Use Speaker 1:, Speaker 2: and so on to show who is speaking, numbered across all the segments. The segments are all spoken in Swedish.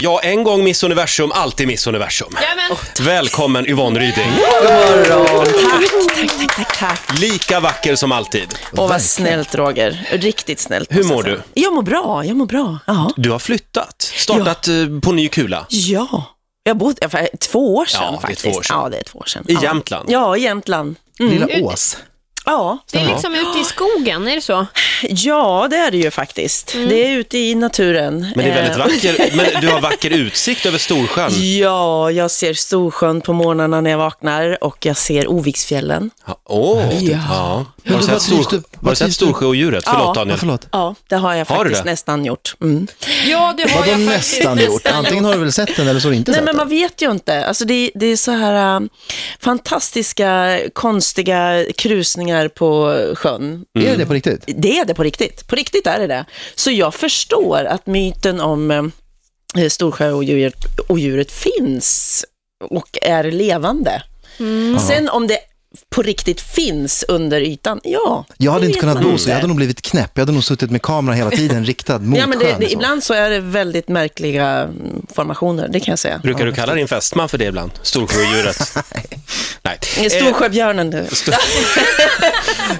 Speaker 1: Ja, en gång Miss Universum, alltid Miss Universum.
Speaker 2: Jajamän.
Speaker 1: Välkommen Yvonne Ryding.
Speaker 2: Tack, tack, tack, tack, tack.
Speaker 1: Lika vacker som alltid.
Speaker 2: Åh, vad snällt Roger. Riktigt snällt.
Speaker 1: Hur
Speaker 2: måste
Speaker 1: mår
Speaker 2: jag säga. Jag mår bra, jag mår bra. Ja.
Speaker 1: Du har flyttat, startat eh, på ny kula.
Speaker 2: ja. Jag bodde ja, för eh, två år sedan
Speaker 1: Ja, det är
Speaker 2: faktiskt.
Speaker 1: två år sedan.
Speaker 2: Ja, det är två år sedan.
Speaker 1: I
Speaker 2: ja.
Speaker 1: Jämtland?
Speaker 2: Ja, i Jämtland. Mm.
Speaker 3: Lilla Ås.
Speaker 2: Ja.
Speaker 4: Det är liksom ute i skogen, är det så?
Speaker 2: ja, det är det ju faktiskt. Det är ute i naturen.
Speaker 1: Men det är väldigt
Speaker 2: Eh,
Speaker 1: vacker, men du har vacker utsikt över Storsjön.
Speaker 2: Ja, jag ser Storsjön på morgnarna när jag vaknar och jag ser Oviksfjällen.
Speaker 1: Ja, Åh, ja. Har
Speaker 3: Men
Speaker 1: du
Speaker 3: vad
Speaker 1: sett,
Speaker 3: trivs
Speaker 1: Storsjö,
Speaker 3: du-
Speaker 1: har du
Speaker 3: vad
Speaker 1: sett
Speaker 3: trivs du-
Speaker 1: Storsjöodjuret? Förlåt
Speaker 2: Ja.
Speaker 1: Daniel.
Speaker 3: Ja, förlåt.
Speaker 2: Ja, det har jag
Speaker 1: Har du
Speaker 2: faktiskt
Speaker 1: det?
Speaker 2: nästan gjort. Mm.
Speaker 4: Ja, det har
Speaker 3: Vadå
Speaker 4: jag faktiskt
Speaker 3: nästan gjort?
Speaker 4: nästan
Speaker 3: Antingen har du väl sett den eller så har du inte
Speaker 2: Nej,
Speaker 3: sett
Speaker 2: men man vet ju inte. Alltså det, det är så här äh, fantastiska, konstiga krusningar på sjön.
Speaker 3: den. Är det på riktigt?
Speaker 2: Det är det på riktigt. På riktigt är det det. Så jag förstår att myten om äh, Storsjöodjuret odjuret finns och är levande. Sen om det på riktigt finns under ytan, ja.
Speaker 3: Jag hade
Speaker 2: det
Speaker 3: inte
Speaker 2: vet
Speaker 3: kunnat
Speaker 2: man
Speaker 3: bo
Speaker 2: inte.
Speaker 3: så, jag hade nog blivit knäpp. Jag hade nog suttit med kameran hela tiden riktad mot
Speaker 2: Ja, men det,
Speaker 3: sjön. liksom.
Speaker 2: det,
Speaker 3: så.
Speaker 2: ibland så är det väldigt märkliga mm, formationer, det kan jag säga.
Speaker 1: Brukar du kalla din fästman för det ibland? Storsjöodjuret? Nej. Eh,
Speaker 2: Storsjöbjörnen du.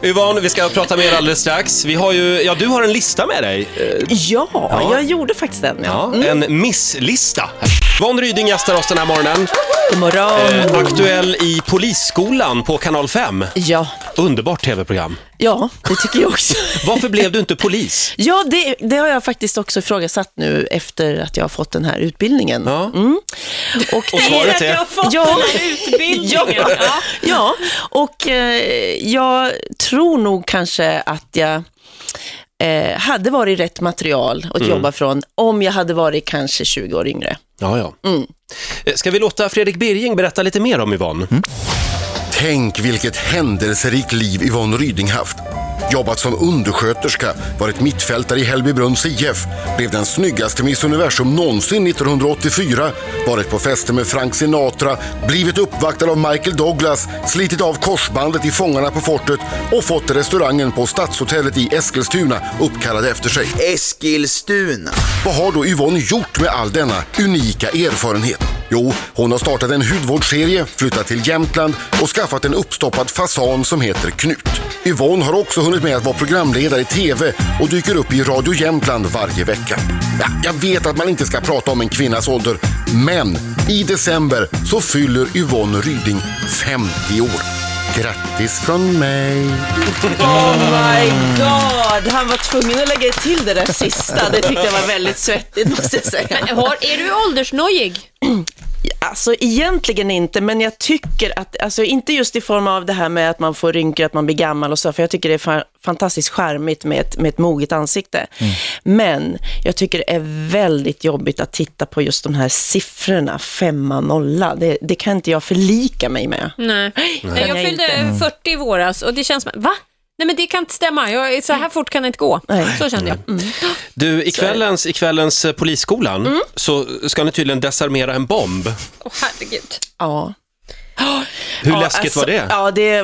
Speaker 1: Yvonne, vi ska prata mer alldeles strax. Vi har ju, ja, du har en lista med dig. Eh,
Speaker 2: Ja, jag gjorde faktiskt den. Ja.
Speaker 1: Ja, en misslista. Yvonne Ryding gästar oss den här morgonen.
Speaker 2: God morgon.
Speaker 1: Eh, aktuell i Polisskolan på Kanal 5.
Speaker 2: Ja,
Speaker 1: Underbart tv-program.
Speaker 2: ja, det tycker jag också.
Speaker 1: Varför blev du inte polis?
Speaker 2: Ja, det, det har jag faktiskt också ifrågasatt nu efter att jag har fått den här utbildningen.
Speaker 1: Ja.
Speaker 2: Och,
Speaker 1: Och svaret
Speaker 4: Jag har
Speaker 1: är...
Speaker 4: fått
Speaker 2: Ja.
Speaker 4: den här utbildningen.
Speaker 2: Ja.
Speaker 4: Ja.
Speaker 2: Ja, och eh, jag tror nog kanske att jag eh, hade varit rätt material
Speaker 1: Mm.
Speaker 2: att jobba från om jag hade varit kanske 20 år yngre.
Speaker 1: Ja, ja. Eh, Ska vi låta Fredrik Birging berätta lite mer om Yvonne?
Speaker 2: Mm.
Speaker 5: Tänk vilket händelserikt liv Yvonne Ryding haft. Jobbat som undersköterska, varit mittfältare i Hällbybrunns IF, blev den snyggaste Miss Universum någonsin 1984, varit på fester med Frank Sinatra, blivit uppvaktad av Michael Douglas, slitit av korsbandet i Fångarna på fortet och fått restaurangen på Stadshotellet i Eskilstuna uppkallad efter sig.
Speaker 6: Eskilstuna.
Speaker 5: Vad har då Yvonne gjort med all denna unika erfarenhet? Jo, hon har startat en hudvårdsserie, flyttat till Jämtland och skaffat en uppstoppad fasan som heter Knut. Yvonne har också hunnit med att vara programledare i TV och dyker upp i Radio Jämtland varje vecka. Ja, jag vet att man inte ska prata om en kvinnas ålder, men i december så fyller Yvonne Ryding 50 år. Grattis från mig!
Speaker 2: Oh my god, han var tvungen att lägga till det där sista. Det tyckte jag var väldigt svettigt måste jag säga.
Speaker 4: Har, är du åldersnojig?
Speaker 2: Alltså egentligen inte, men jag tycker att, alltså inte just i form av det här med att man får rynkor, att man blir gammal och så, för jag tycker det är fa- fantastiskt charmigt med ett, med ett moget ansikte. Men jag tycker det är väldigt jobbigt att titta på just de här siffrorna, femma, nolla. Det, det kan inte jag förlika mig med.
Speaker 4: Nej. Nej. Jag Mm.
Speaker 2: jag
Speaker 4: fyllde 40 i våras och det känns som, va? Nej men det kan inte stämma, jag, är- så här fort kan det inte gå.
Speaker 2: Nej.
Speaker 4: Så kände jag. Mm.
Speaker 1: Du, i kvällens, i kvällens eh, Polisskolan
Speaker 2: Mm.
Speaker 1: så ska ni tydligen desarmera en bomb.
Speaker 4: Åh,
Speaker 2: Mm.
Speaker 4: herregud.
Speaker 2: Ja.
Speaker 1: Hur
Speaker 2: Ja,
Speaker 1: läskigt
Speaker 2: alltså,
Speaker 1: var det?
Speaker 2: Ja, det,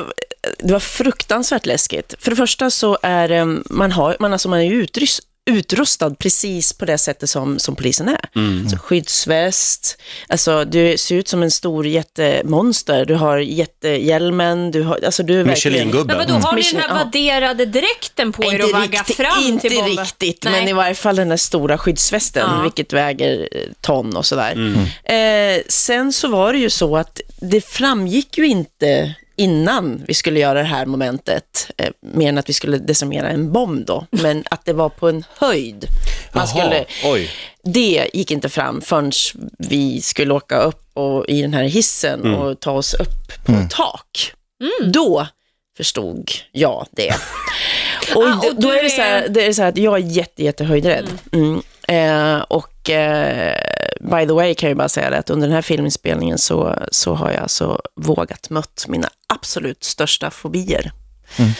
Speaker 2: det var fruktansvärt läskigt. För det första så är eh, man, har, man, alltså man är ju utrys- utrustad precis på det sättet som, som polisen är.
Speaker 1: Mm.
Speaker 2: Så skyddsväst, alltså du ser ut som en stor jättemonster, du har jättehjälmen, du har, alltså du är verkligen...
Speaker 4: Men
Speaker 1: Michelin-gubben.
Speaker 4: vadå, har ni den här
Speaker 2: Michelin, ja.
Speaker 4: vadderade dräkten på er och vagga fram
Speaker 2: inte
Speaker 4: till bomben?
Speaker 2: riktigt
Speaker 4: Nej.
Speaker 2: men i varje fall den där stora skyddsvästen,
Speaker 4: Ja.
Speaker 2: vilket väger eh, ton och sådär. Eh, sen så var det ju så att det framgick ju inte innan vi skulle göra det här momentet, eh, mer än att vi skulle desarmera en bomb då, men att det var på en höjd.
Speaker 1: Jaha,
Speaker 2: Man skulle,
Speaker 1: oj.
Speaker 2: det gick inte fram förrän vi skulle åka upp och, i den här hissen
Speaker 3: Mm.
Speaker 2: och ta oss upp på tak.
Speaker 4: Mm.
Speaker 2: Då förstod jag det. Och,
Speaker 4: Ah, och
Speaker 2: då- då
Speaker 4: du
Speaker 2: är det så, här,
Speaker 4: är-
Speaker 2: det är så här att jag är jätte, jättehöjdrädd. Mm. Eh, och eh, by the way kan jag ju bara säga det att under den här filminspelningen så, så har jag alltså vågat mött mina absolut största fobier.
Speaker 3: Mm.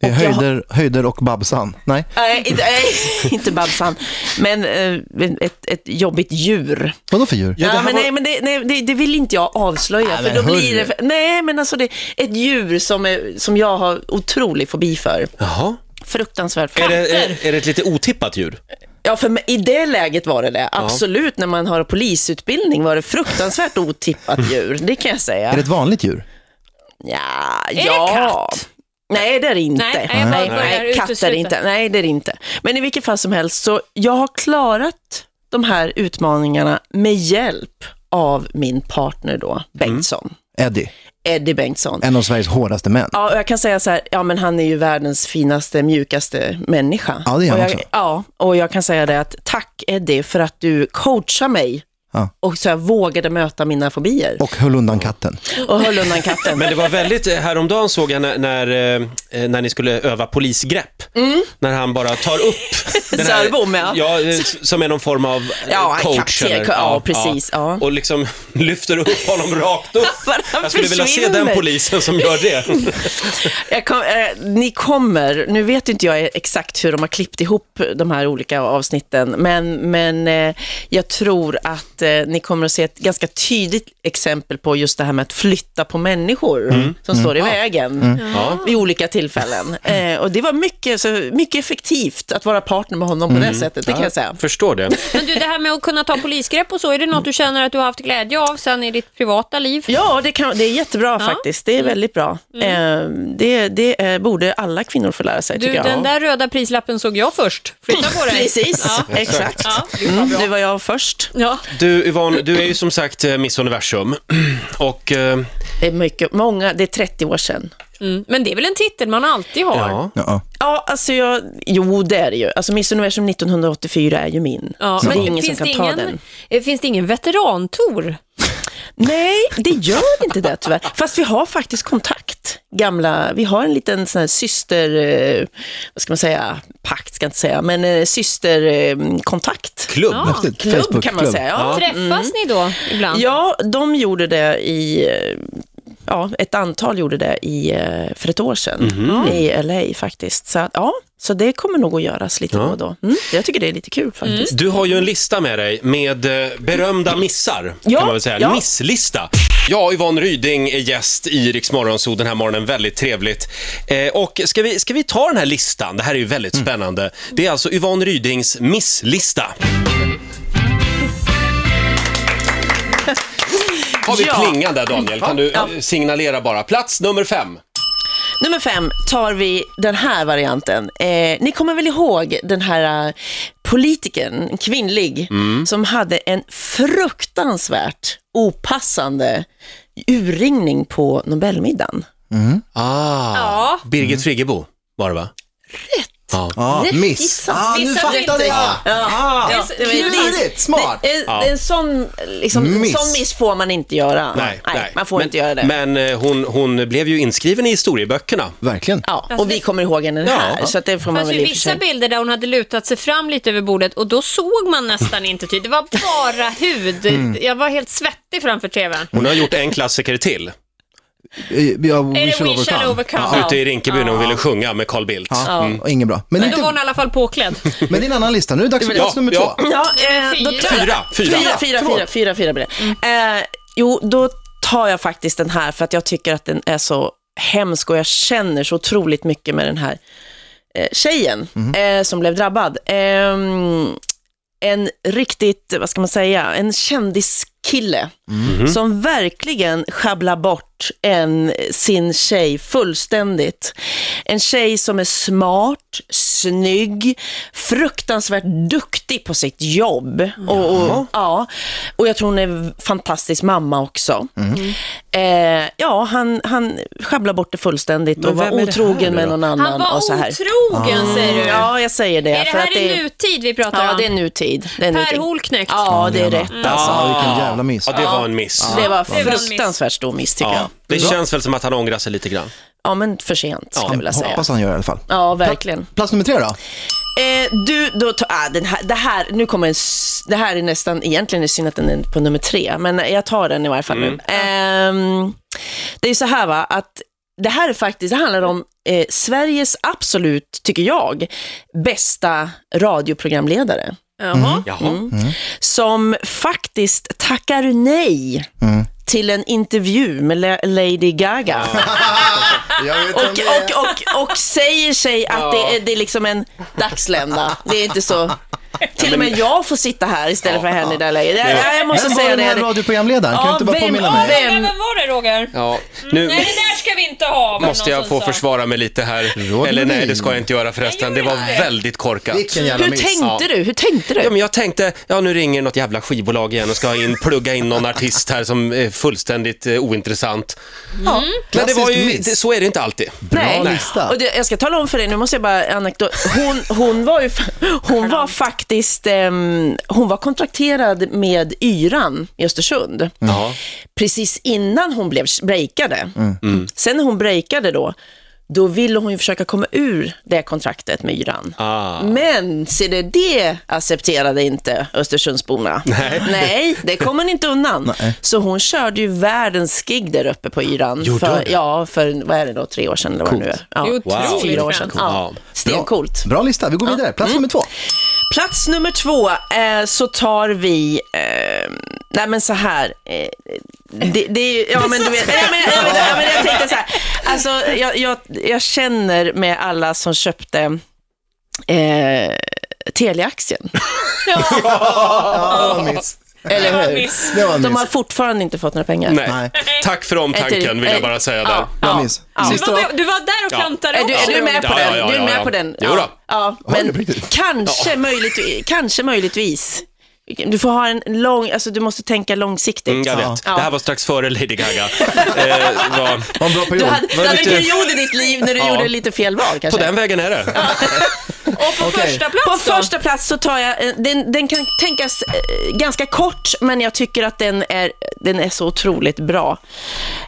Speaker 3: Det är
Speaker 2: Och jag har-
Speaker 3: höjder, höjder och Babsan. Nej,
Speaker 2: Nej, inte- nej, inte Babsan, men eh, ett, ett jobbigt djur.
Speaker 3: vadå för djur?
Speaker 2: Ja, men nej, men det, nej, det, det vill inte jag avslöja. för
Speaker 3: men
Speaker 2: då
Speaker 3: hörru.
Speaker 2: blir det, för, nej, men alltså det är ett djur som, är, som jag har otrolig fobi för.
Speaker 1: Jaha.
Speaker 2: Fruktansvärt
Speaker 1: Är
Speaker 2: fobi.
Speaker 1: det, är, är det ett lite otippat djur?
Speaker 2: Ja, för mig- i det läget var det det. Absolut, när man har polisutbildning var det fruktansvärt otippat djur, det kan jag säga.
Speaker 3: Är det ett vanligt djur?
Speaker 2: Ja,
Speaker 4: det
Speaker 2: ja.
Speaker 4: katt?
Speaker 2: Nej, det är det inte.
Speaker 4: Nej, nej, jag bara börjar
Speaker 2: katt är
Speaker 4: utesluta.
Speaker 2: det inte. Nej, det är det inte. Men i vilket fall som helst, så jag har klarat de här utmaningarna med hjälp av min partner
Speaker 4: Mm.
Speaker 2: då, Bengtsson.
Speaker 3: Eddie,
Speaker 2: Eddie Bengtsson.
Speaker 3: en av Sveriges hårdaste män.
Speaker 2: Ja, och jag kan säga så här, ja men han är ju världens finaste, mjukaste människa.
Speaker 3: Ja, det är han
Speaker 2: och jag,
Speaker 3: också.
Speaker 2: Ja, och jag kan säga det att tack Eddie för att du coachar mig
Speaker 3: Ja.
Speaker 2: och så här, vågade möta mina fobier
Speaker 3: Och höll undan katten.
Speaker 2: och höll undan katten.
Speaker 1: Men det var väldigt, eh, häromdagen såg jag när, när, eh, när ni skulle öva polisgrepp.
Speaker 2: Mm.
Speaker 1: När han bara tar upp
Speaker 2: Sörbom, ja.
Speaker 1: ja. eh, s- Som är någon form av eh,
Speaker 2: Ja, en
Speaker 1: coach.
Speaker 2: kaxig- ja, precis, ja.
Speaker 1: Och liksom lyfter upp honom rakt upp.
Speaker 2: Bara
Speaker 1: Jag skulle vilja se den
Speaker 2: försvinner.
Speaker 1: polisen som gör det.
Speaker 2: Jag kom, eh, ni kommer, nu vet inte jag exakt hur de har klippt ihop de här olika avsnitten, men, men eh, jag tror att eh, ni kommer att se ett ganska tydligt exempel på just det här med att flytta på människor som står i vägen vid olika tillfällen. Eh, och det var mycket, så, mycket effektivt att vara partner med honom på det sättet, det kan jag säga.
Speaker 1: Förstår det.
Speaker 4: Men du, det här med att kunna ta polisgrepp och så, är det något du känner att du har haft glädje av sen i ditt privata liv?
Speaker 2: Ja, det, kan, det är jättebra
Speaker 4: Ja. Mm.
Speaker 2: faktiskt. Det är väldigt bra. Eh, det det eh, borde alla kvinnor få lära sig,
Speaker 4: Du,
Speaker 2: tycker jag.
Speaker 4: den där röda prislappen såg jag först. Flytta på dig.
Speaker 2: Precis, exakt.
Speaker 4: Ja,
Speaker 2: Mm, det var jag först.
Speaker 4: Ja.
Speaker 1: Du Yvonne, du är ju som sagt eh, Miss Universum. Och eh,
Speaker 2: Det är mycket, många, det är 30 år sedan.
Speaker 4: Mm. Men det är väl en titel man alltid har? Ja.
Speaker 1: ja.
Speaker 3: Ja.
Speaker 2: Ja, alltså jag, jo det är det ju. Alltså Miss Universum 1984 är ju min. så det är ingen som
Speaker 4: finns
Speaker 2: kan
Speaker 4: det
Speaker 2: ta
Speaker 4: ingen-
Speaker 2: den.
Speaker 4: eh, Finns det ingen veterantour?
Speaker 2: Nej, det gör inte det tyvärr. Fast vi har faktiskt kontakt. Gamla, vi har en liten sån här syster, eh, vad ska man säga, pakt ska jag inte säga, men eh, systerkontakt.
Speaker 1: Klubb.
Speaker 4: Ja.
Speaker 3: Häftigt.
Speaker 2: Klubb kan man
Speaker 3: Facebookklubb.
Speaker 2: säga. Ja, Mm.
Speaker 4: Träffas ni då ibland?
Speaker 2: Ja, de gjorde det i, eh, ja, ett antal gjorde det i, eh, för ett år sedan i LA faktiskt. Så, att, ja, så det kommer nog att göras lite då och då. Mm, jag tycker det är lite kul faktiskt.
Speaker 1: Du har ju en lista med dig med eh, berömda missar,
Speaker 2: Ja,
Speaker 1: kan man väl säga.
Speaker 2: ja.
Speaker 1: Misslista. Ja, Yvonne Ryding är gäst i Rix Morgonzoo den här morgonen. Väldigt trevligt. Eh, och ska vi, ska vi ta den här listan? Det här är ju väldigt spännande. Det är alltså Yvonne Rydings misslista. Har vi
Speaker 2: Ja.
Speaker 1: klingan där, Daniel? Kan du
Speaker 2: Ja.
Speaker 1: eh, signalera bara? Plats nummer fem.
Speaker 2: Nummer fem tar vi den här varianten. Eh, ni kommer väl ihåg den här eh, politikern, en kvinnlig, som hade en fruktansvärt opassande urringning på Nobelmiddagen.
Speaker 1: Ah,
Speaker 4: Ja.
Speaker 1: Birgit Friggebo var det, va?
Speaker 3: Ja, miss.
Speaker 2: Gissa.
Speaker 3: Ah, nu
Speaker 4: Missade
Speaker 3: fattade
Speaker 4: inte.
Speaker 3: jag. Ah,
Speaker 2: Ja, det var ju-
Speaker 3: klurigt. Smart.
Speaker 2: Det, en,
Speaker 1: Ja.
Speaker 2: en sån, liksom,
Speaker 3: Miss.
Speaker 2: miss. sån miss får man inte göra. Man får
Speaker 1: men,
Speaker 2: inte göra det.
Speaker 1: Men eh, hon, hon blev ju inskriven i historieböckerna.
Speaker 3: Verkligen.
Speaker 2: ja, och vi kommer ihåg henne här, så att det får
Speaker 4: Det
Speaker 2: man
Speaker 4: fanns
Speaker 2: väl
Speaker 4: ju
Speaker 2: i och för
Speaker 4: Alltså, vissa
Speaker 2: sig.
Speaker 4: bilder där hon hade lutat sig fram lite över bordet och då såg man nästan inte tydligt. Det var bara hud.
Speaker 2: Mm.
Speaker 4: Jag var helt svettig framför tvn.
Speaker 1: Hon har gjort en klassiker till.
Speaker 3: Eh, Ja,
Speaker 4: Är
Speaker 3: we
Speaker 4: det
Speaker 3: shall
Speaker 4: We shall
Speaker 3: overcome.
Speaker 4: overcome?
Speaker 1: Ja. Ute i Rinkeby när hon ville sjunga med Carl Bildt.
Speaker 3: Ja, och inget bra. Men,
Speaker 4: Men då var hon
Speaker 3: inte,
Speaker 4: i alla fall påklädd.
Speaker 3: men det är en annan lista. Nu är det dags för
Speaker 1: Ja,
Speaker 3: plats nummer
Speaker 1: ja.
Speaker 3: två.
Speaker 2: Ja, eh, då
Speaker 4: Fyra. Mm.
Speaker 2: tar-
Speaker 1: Fyra, fyra.
Speaker 2: Fyra, fyra, fyra, fyra, fyra blir det. Eh, jo, då tar jag faktiskt den här för att jag tycker att den är så hemsk och jag känner så otroligt mycket med den här eh, tjejen eh, som blev drabbad. Ehm, en riktigt, vad ska man säga, en kändiskille som verkligen schabblar bort en, sin tjej fullständigt. En tjej som är smart, snygg, fruktansvärt duktig på sitt jobb. Och, och, ja. och jag tror hon är en fantastisk mamma också. Eh, ja, han, han schabblar bort det fullständigt och var
Speaker 1: vem är det här
Speaker 2: otrogen med
Speaker 1: då?
Speaker 2: någon annan.
Speaker 4: Han var
Speaker 2: och så här.
Speaker 4: otrogen säger du.
Speaker 2: Ja, jag säger det.
Speaker 4: Är det
Speaker 2: för
Speaker 4: här
Speaker 2: att
Speaker 4: i nutid vi pratar
Speaker 2: Ja,
Speaker 4: om?
Speaker 2: det är nutid. Det är
Speaker 4: Per
Speaker 2: nutid.
Speaker 4: Holknekt.
Speaker 2: Ja, det är rätt alltså.
Speaker 3: Ja, vilken jävla miss.
Speaker 1: Ja, det var en miss.
Speaker 2: Det var
Speaker 4: det var en miss.
Speaker 2: fruktansvärt stor miss tycker jag.
Speaker 1: Ja. Det känns väl som att han ångrar sig lite grann.
Speaker 2: Ja, men för sent skulle jag vilja säga.
Speaker 3: Hoppas han gör det i alla fall.
Speaker 2: Ja, verkligen.
Speaker 3: Plats nummer tre då?
Speaker 2: Eh, du, då ta, ah, den här, det här, nu kommer en, s- det här är nästan, egentligen är det synd att den är på nummer tre, men jag tar den i varje fall
Speaker 1: Mm.
Speaker 2: nu. Ehm, det är ju så här va, att det här är faktiskt, det handlar om eh, Sveriges absolut, tycker jag, bästa radioprogramledare.
Speaker 4: Jaha.
Speaker 1: Jaha.
Speaker 3: Mm.
Speaker 2: som faktiskt tackar nej till en intervju med La- Lady Gaga. Och, och, och, och säger sig att det är, det är liksom en dagslända. Det är inte så Till och med jag får sitta här istället för henne i det här läget. Jag, jag, jag måste
Speaker 3: Vem var
Speaker 2: säga
Speaker 3: den här
Speaker 2: det.
Speaker 3: radioprogramledaren? Kan
Speaker 2: Ja,
Speaker 3: du inte bara
Speaker 2: vem-
Speaker 3: påminna
Speaker 2: ja,
Speaker 3: mig?
Speaker 2: vem-
Speaker 4: Vem var det, Roger?
Speaker 1: Ja,
Speaker 2: Mm,
Speaker 1: nu
Speaker 4: Nej, det där ska vi inte ha. var det
Speaker 1: måste
Speaker 4: någon
Speaker 1: jag
Speaker 4: som
Speaker 1: få
Speaker 4: sa.
Speaker 1: försvara mig lite här.
Speaker 3: Rådgivning.
Speaker 1: Eller nej, det ska jag inte göra förresten. Det var väldigt korkat.
Speaker 3: Vilken jävla
Speaker 2: Hur
Speaker 3: miss.
Speaker 2: tänkte du? Hur tänkte
Speaker 1: Ja,
Speaker 2: du?
Speaker 1: men jag tänkte, ja nu ringer något jävla skivbolag igen och ska ha in, plugga in någon artist här som är fullständigt eh, ointressant.
Speaker 2: Ja.
Speaker 1: Men det var
Speaker 3: Klassisk
Speaker 1: ju,
Speaker 3: miss.
Speaker 1: det, så är det inte alltid.
Speaker 2: Nej.
Speaker 3: lista.
Speaker 2: Och det, jag ska tala om för dig, nu måste jag bara anekdot. Hon, hon var ju fa- hon var faktiskt ehm, hon var kontrakterad med Yran i Östersund. Precis innan hon blev breakade. Sen när hon breakade då, då ville hon ju försöka komma ur det kontraktet med Yran.
Speaker 1: Ah.
Speaker 2: Men se det, det accepterade inte Östersundsborna. Nej. det kom hon inte undan. Så hon körde ju världens gig där uppe på Yran.
Speaker 1: Gjorde hon
Speaker 2: För,
Speaker 1: det?
Speaker 2: ja, för vad är det då, tre år sedan eller vad det nu är. Ja,
Speaker 4: Det är otroligt
Speaker 2: Fyra år sedan.
Speaker 4: fränt.
Speaker 2: Ja, stencoolt.
Speaker 3: Bra lista, vi går vidare. Plats
Speaker 2: Mm.
Speaker 3: nummer två.
Speaker 2: Plats nummer två eh, så tar vi, eh, nej men så här, eh, det, det är ju, ja men du vet, ja, men, ja, men, ja, men jag tänkte så här, alltså jag, jag, jag känner med alla som köpte eh, Telia-aktien,
Speaker 3: Ja, miss.
Speaker 4: Det var
Speaker 2: eller
Speaker 4: en
Speaker 2: hur?
Speaker 4: miss.
Speaker 3: Det var en
Speaker 2: De har
Speaker 3: miss.
Speaker 2: fortfarande inte fått några pengar.
Speaker 1: Nej.
Speaker 3: Nej.
Speaker 1: Tack för omtanken vill jag bara säga där.
Speaker 3: Jag minns.
Speaker 4: Du
Speaker 3: Sista
Speaker 4: var, du var där och
Speaker 1: Ja.
Speaker 4: klantade
Speaker 2: Är du, är du med på
Speaker 1: Ja, ja,
Speaker 2: den?
Speaker 1: ja,
Speaker 2: du är
Speaker 1: ja,
Speaker 2: med
Speaker 1: ja.
Speaker 2: på den?
Speaker 1: Jo då.
Speaker 2: Ja, ja,
Speaker 3: Har ni på
Speaker 2: men
Speaker 3: riktigt?
Speaker 2: kanske, möjligt, kanske möjligtvis. Du får ha en lång, alltså du måste tänka långsiktigt.
Speaker 1: Mm, jag vet.
Speaker 2: Ja.
Speaker 1: Det här var strax före Lady Gaga. eh, var,
Speaker 3: Var en bra
Speaker 2: Du
Speaker 3: period.
Speaker 2: hade,
Speaker 3: Var
Speaker 2: du
Speaker 3: det
Speaker 2: hade en
Speaker 3: lite-
Speaker 2: period i ditt liv när du
Speaker 1: Ja.
Speaker 2: gjorde lite fel val
Speaker 1: på
Speaker 2: kanske.
Speaker 1: den vägen är det.
Speaker 4: Och på
Speaker 3: Okej.
Speaker 4: första plats
Speaker 2: På
Speaker 4: då?
Speaker 2: första plats så tar jag, eh, den, den kan tänkas eh, ganska kort, men jag tycker att den är, den är så otroligt bra.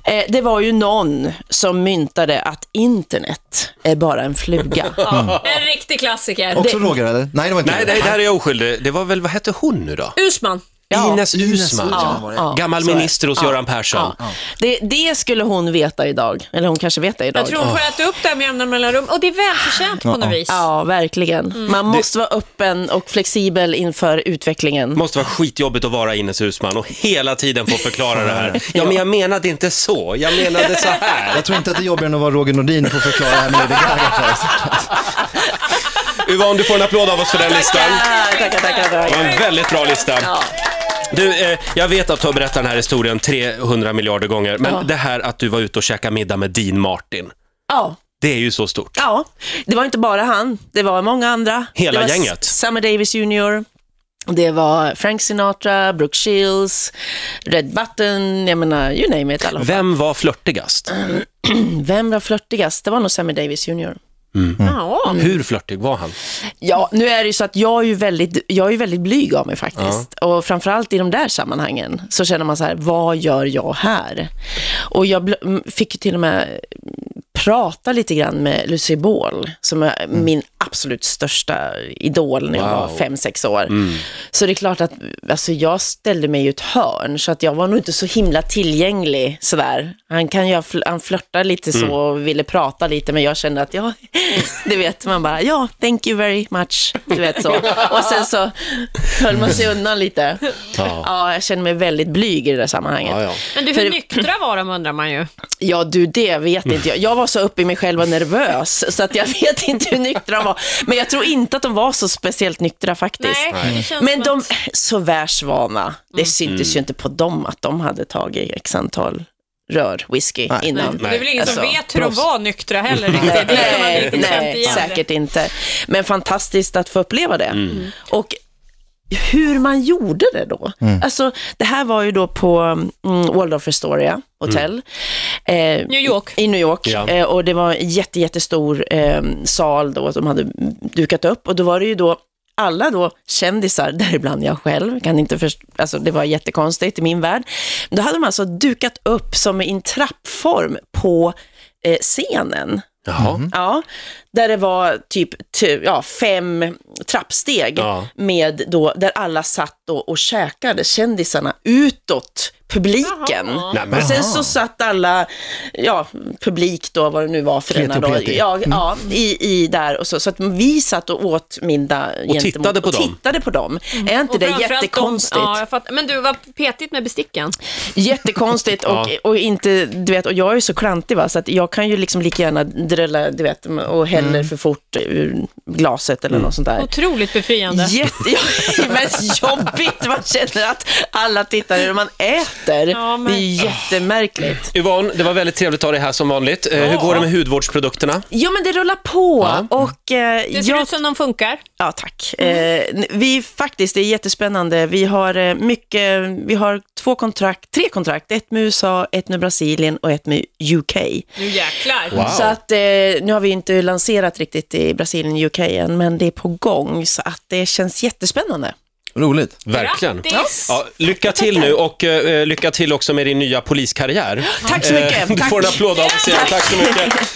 Speaker 2: Eh, det var ju någon som myntade att internet är bara en fluga.
Speaker 4: En riktig klassiker.
Speaker 3: Också Roger eller? Nej, det var inte
Speaker 1: Nej, nej, där är jag oskyldig. Det var väl, vad hette hon nu då?
Speaker 4: Ursman.
Speaker 2: Ja.
Speaker 1: Ines Uusmann.
Speaker 3: Uusmann var det.
Speaker 2: Ja,
Speaker 1: Gammal
Speaker 2: så är det.
Speaker 1: minister hos Göran Persson.
Speaker 2: Det, det skulle hon veta idag, eller hon kanske vet det idag.
Speaker 4: Jag tror hon får äta upp det här med jämna mellanrum. Och det är välförtjänt på något vis.
Speaker 2: Ja, verkligen. Man måste vara öppen och flexibel inför utvecklingen.
Speaker 1: måste vara skitjobbigt att vara Ines Husman och hela tiden få förklara det här. Ja, men jag menade inte så. Jag menade så här.
Speaker 3: Jag tror inte att det är jobbigare än att vara Roger Nordin och få förklara det här med Lady Gaga för oss.
Speaker 1: Yvonne, du får en applåd av oss för den listan.
Speaker 2: Ah, tackar, tackar,
Speaker 1: Det var
Speaker 2: tackar.
Speaker 1: en väldigt bra lista.
Speaker 2: Ja.
Speaker 1: Du, eh, jag vet att du har berättat den här historien 300 miljarder gånger, men
Speaker 2: Ja.
Speaker 1: det här att du var ute och käkade middag med Dean Martin,
Speaker 2: Ja,
Speaker 1: det är ju så stort.
Speaker 2: ja, det var inte bara han, det var många andra.
Speaker 1: Hela
Speaker 2: det var
Speaker 1: gänget.
Speaker 2: S- Sammy Davis Jr. Det var Frank Sinatra, Brooke Shields, Red Button, jag menar, you name it. Allihopa.
Speaker 1: Vem var flörtigast?
Speaker 2: Vem var flörtigast? Det var nog Sammy Davis Jr. Mm.
Speaker 4: Ja.
Speaker 1: Hur flörtig var han?
Speaker 2: Ja, nu är det ju så att jag är ju väldigt, jag är ju väldigt blyg av mig faktiskt. Och framförallt i de där sammanhangen så känner man så här, vad gör jag här? Och jag bl- m- fick ju till och med prata lite grann med Lucy Ball, som är min absolut största idol när jag var fem sex år.
Speaker 1: Mm.
Speaker 2: Så det är klart att alltså, jag ställde mig i ett hörn, så att jag var nog inte så himla tillgänglig sådär. Han, kan ju, ha fl- han flörtade lite
Speaker 1: Mm.
Speaker 2: så och ville prata lite, men jag kände att, ja, du vet, man bara, ja, thank you very much, du vet så. Och sen så höll man sig undan lite. Ja, jag känner mig väldigt blyg i det där sammanhanget.
Speaker 1: Ja, ja.
Speaker 4: Men du, hur nyktra var de undrar man ju.
Speaker 2: Ja, du, det vet inte jag. Jag var så uppe i mig själv och nervös, så att jag vet inte hur nyktra de var. Men jag tror inte att de var så speciellt nyktra faktiskt.
Speaker 4: Nej, det känns
Speaker 2: Men
Speaker 4: som
Speaker 2: de,
Speaker 4: att- Mm.
Speaker 2: så världsvana, det syntes ju inte på dem att de hade tagit x antal rör whisky innan.
Speaker 4: Det är väl ingen som
Speaker 2: Alltså,
Speaker 4: vet hur de var nyktra heller riktigt. Det kan man
Speaker 2: Nej,
Speaker 4: inte känna
Speaker 2: nej
Speaker 4: igen.
Speaker 2: säkert inte. Men fantastiskt att få uppleva det. Och hur man gjorde det då. Alltså, det här var ju då på mm, Waldorf Astoria Hotel. Eh,
Speaker 4: New York.
Speaker 2: I New York.
Speaker 1: Ja.
Speaker 2: Eh, och det var en jätte, jättestor eh, sal då, som de hade dukat upp. Och då var det ju då alla då kändisar, däribland jag själv, kan inte först- alltså det var jättekonstigt i min värld. Då hade de alltså dukat upp som i en trappform på eh, scenen.
Speaker 1: Jaha.
Speaker 2: Ja, där det var typ t- ja, fem trappsteg
Speaker 1: Ja.
Speaker 2: med då, där alla satt då och käkade, kändisarna, utåt publiken.
Speaker 1: Nej, men-
Speaker 2: Och sen så satt alla, ja, publik då, vad det nu var för denna
Speaker 3: Peti
Speaker 2: då,
Speaker 3: och Peti.
Speaker 2: ja,
Speaker 1: Mm.
Speaker 2: ja, i, i där och så. Så att vi satt och åt middag gentemot-
Speaker 1: tittade på
Speaker 2: och
Speaker 1: dem.
Speaker 2: tittade på dem. Är inte
Speaker 4: Mm. Och
Speaker 2: det
Speaker 4: framförallt de-
Speaker 2: jättekonstigt?
Speaker 4: ja, jag fattar. Men du, vad petigt med bestickan.
Speaker 2: Jättekonstigt och,
Speaker 1: Ja.
Speaker 2: och inte, du vet, och jag är ju så klantig va, så att jag kan ju liksom lika gärna drälla, du vet, och häller för fort ur glaset eller något sånt där.
Speaker 4: Otroligt befriande.
Speaker 2: Jätte, ja, men jobbigt, man känner att alla tittar hur man äter.
Speaker 4: Ja, men-
Speaker 2: Det är jättemärkligt.
Speaker 1: Yvonne, det var väldigt trevligt att ha dig här som vanligt. Eh, Hur går det med hudvårdsprodukterna?
Speaker 2: Jo men det rullar på och eh,
Speaker 4: Det ser
Speaker 2: jag
Speaker 4: ut som de funkar.
Speaker 2: Ja, tack. Eh, vi faktiskt, det är jättespännande. Vi har eh, mycket, vi har två kontrakt, tre kontrakt. Ett med USA, ett med Brasilien och ett med UK.
Speaker 4: Nu jäklar.
Speaker 2: Så att eh, nu har vi inte lanserat riktigt i Brasilien och UK än, men det är på gång så att det känns jättespännande.
Speaker 3: Roligt.
Speaker 1: Verkligen.
Speaker 4: Grattis.
Speaker 1: Ja, lycka till nu och eh, lycka till också med din nya poliskarriär.
Speaker 2: Tack så
Speaker 1: Eh,
Speaker 2: mycket.
Speaker 1: Du får en
Speaker 2: Tack.
Speaker 1: applåd av oss igen. Tack så mycket.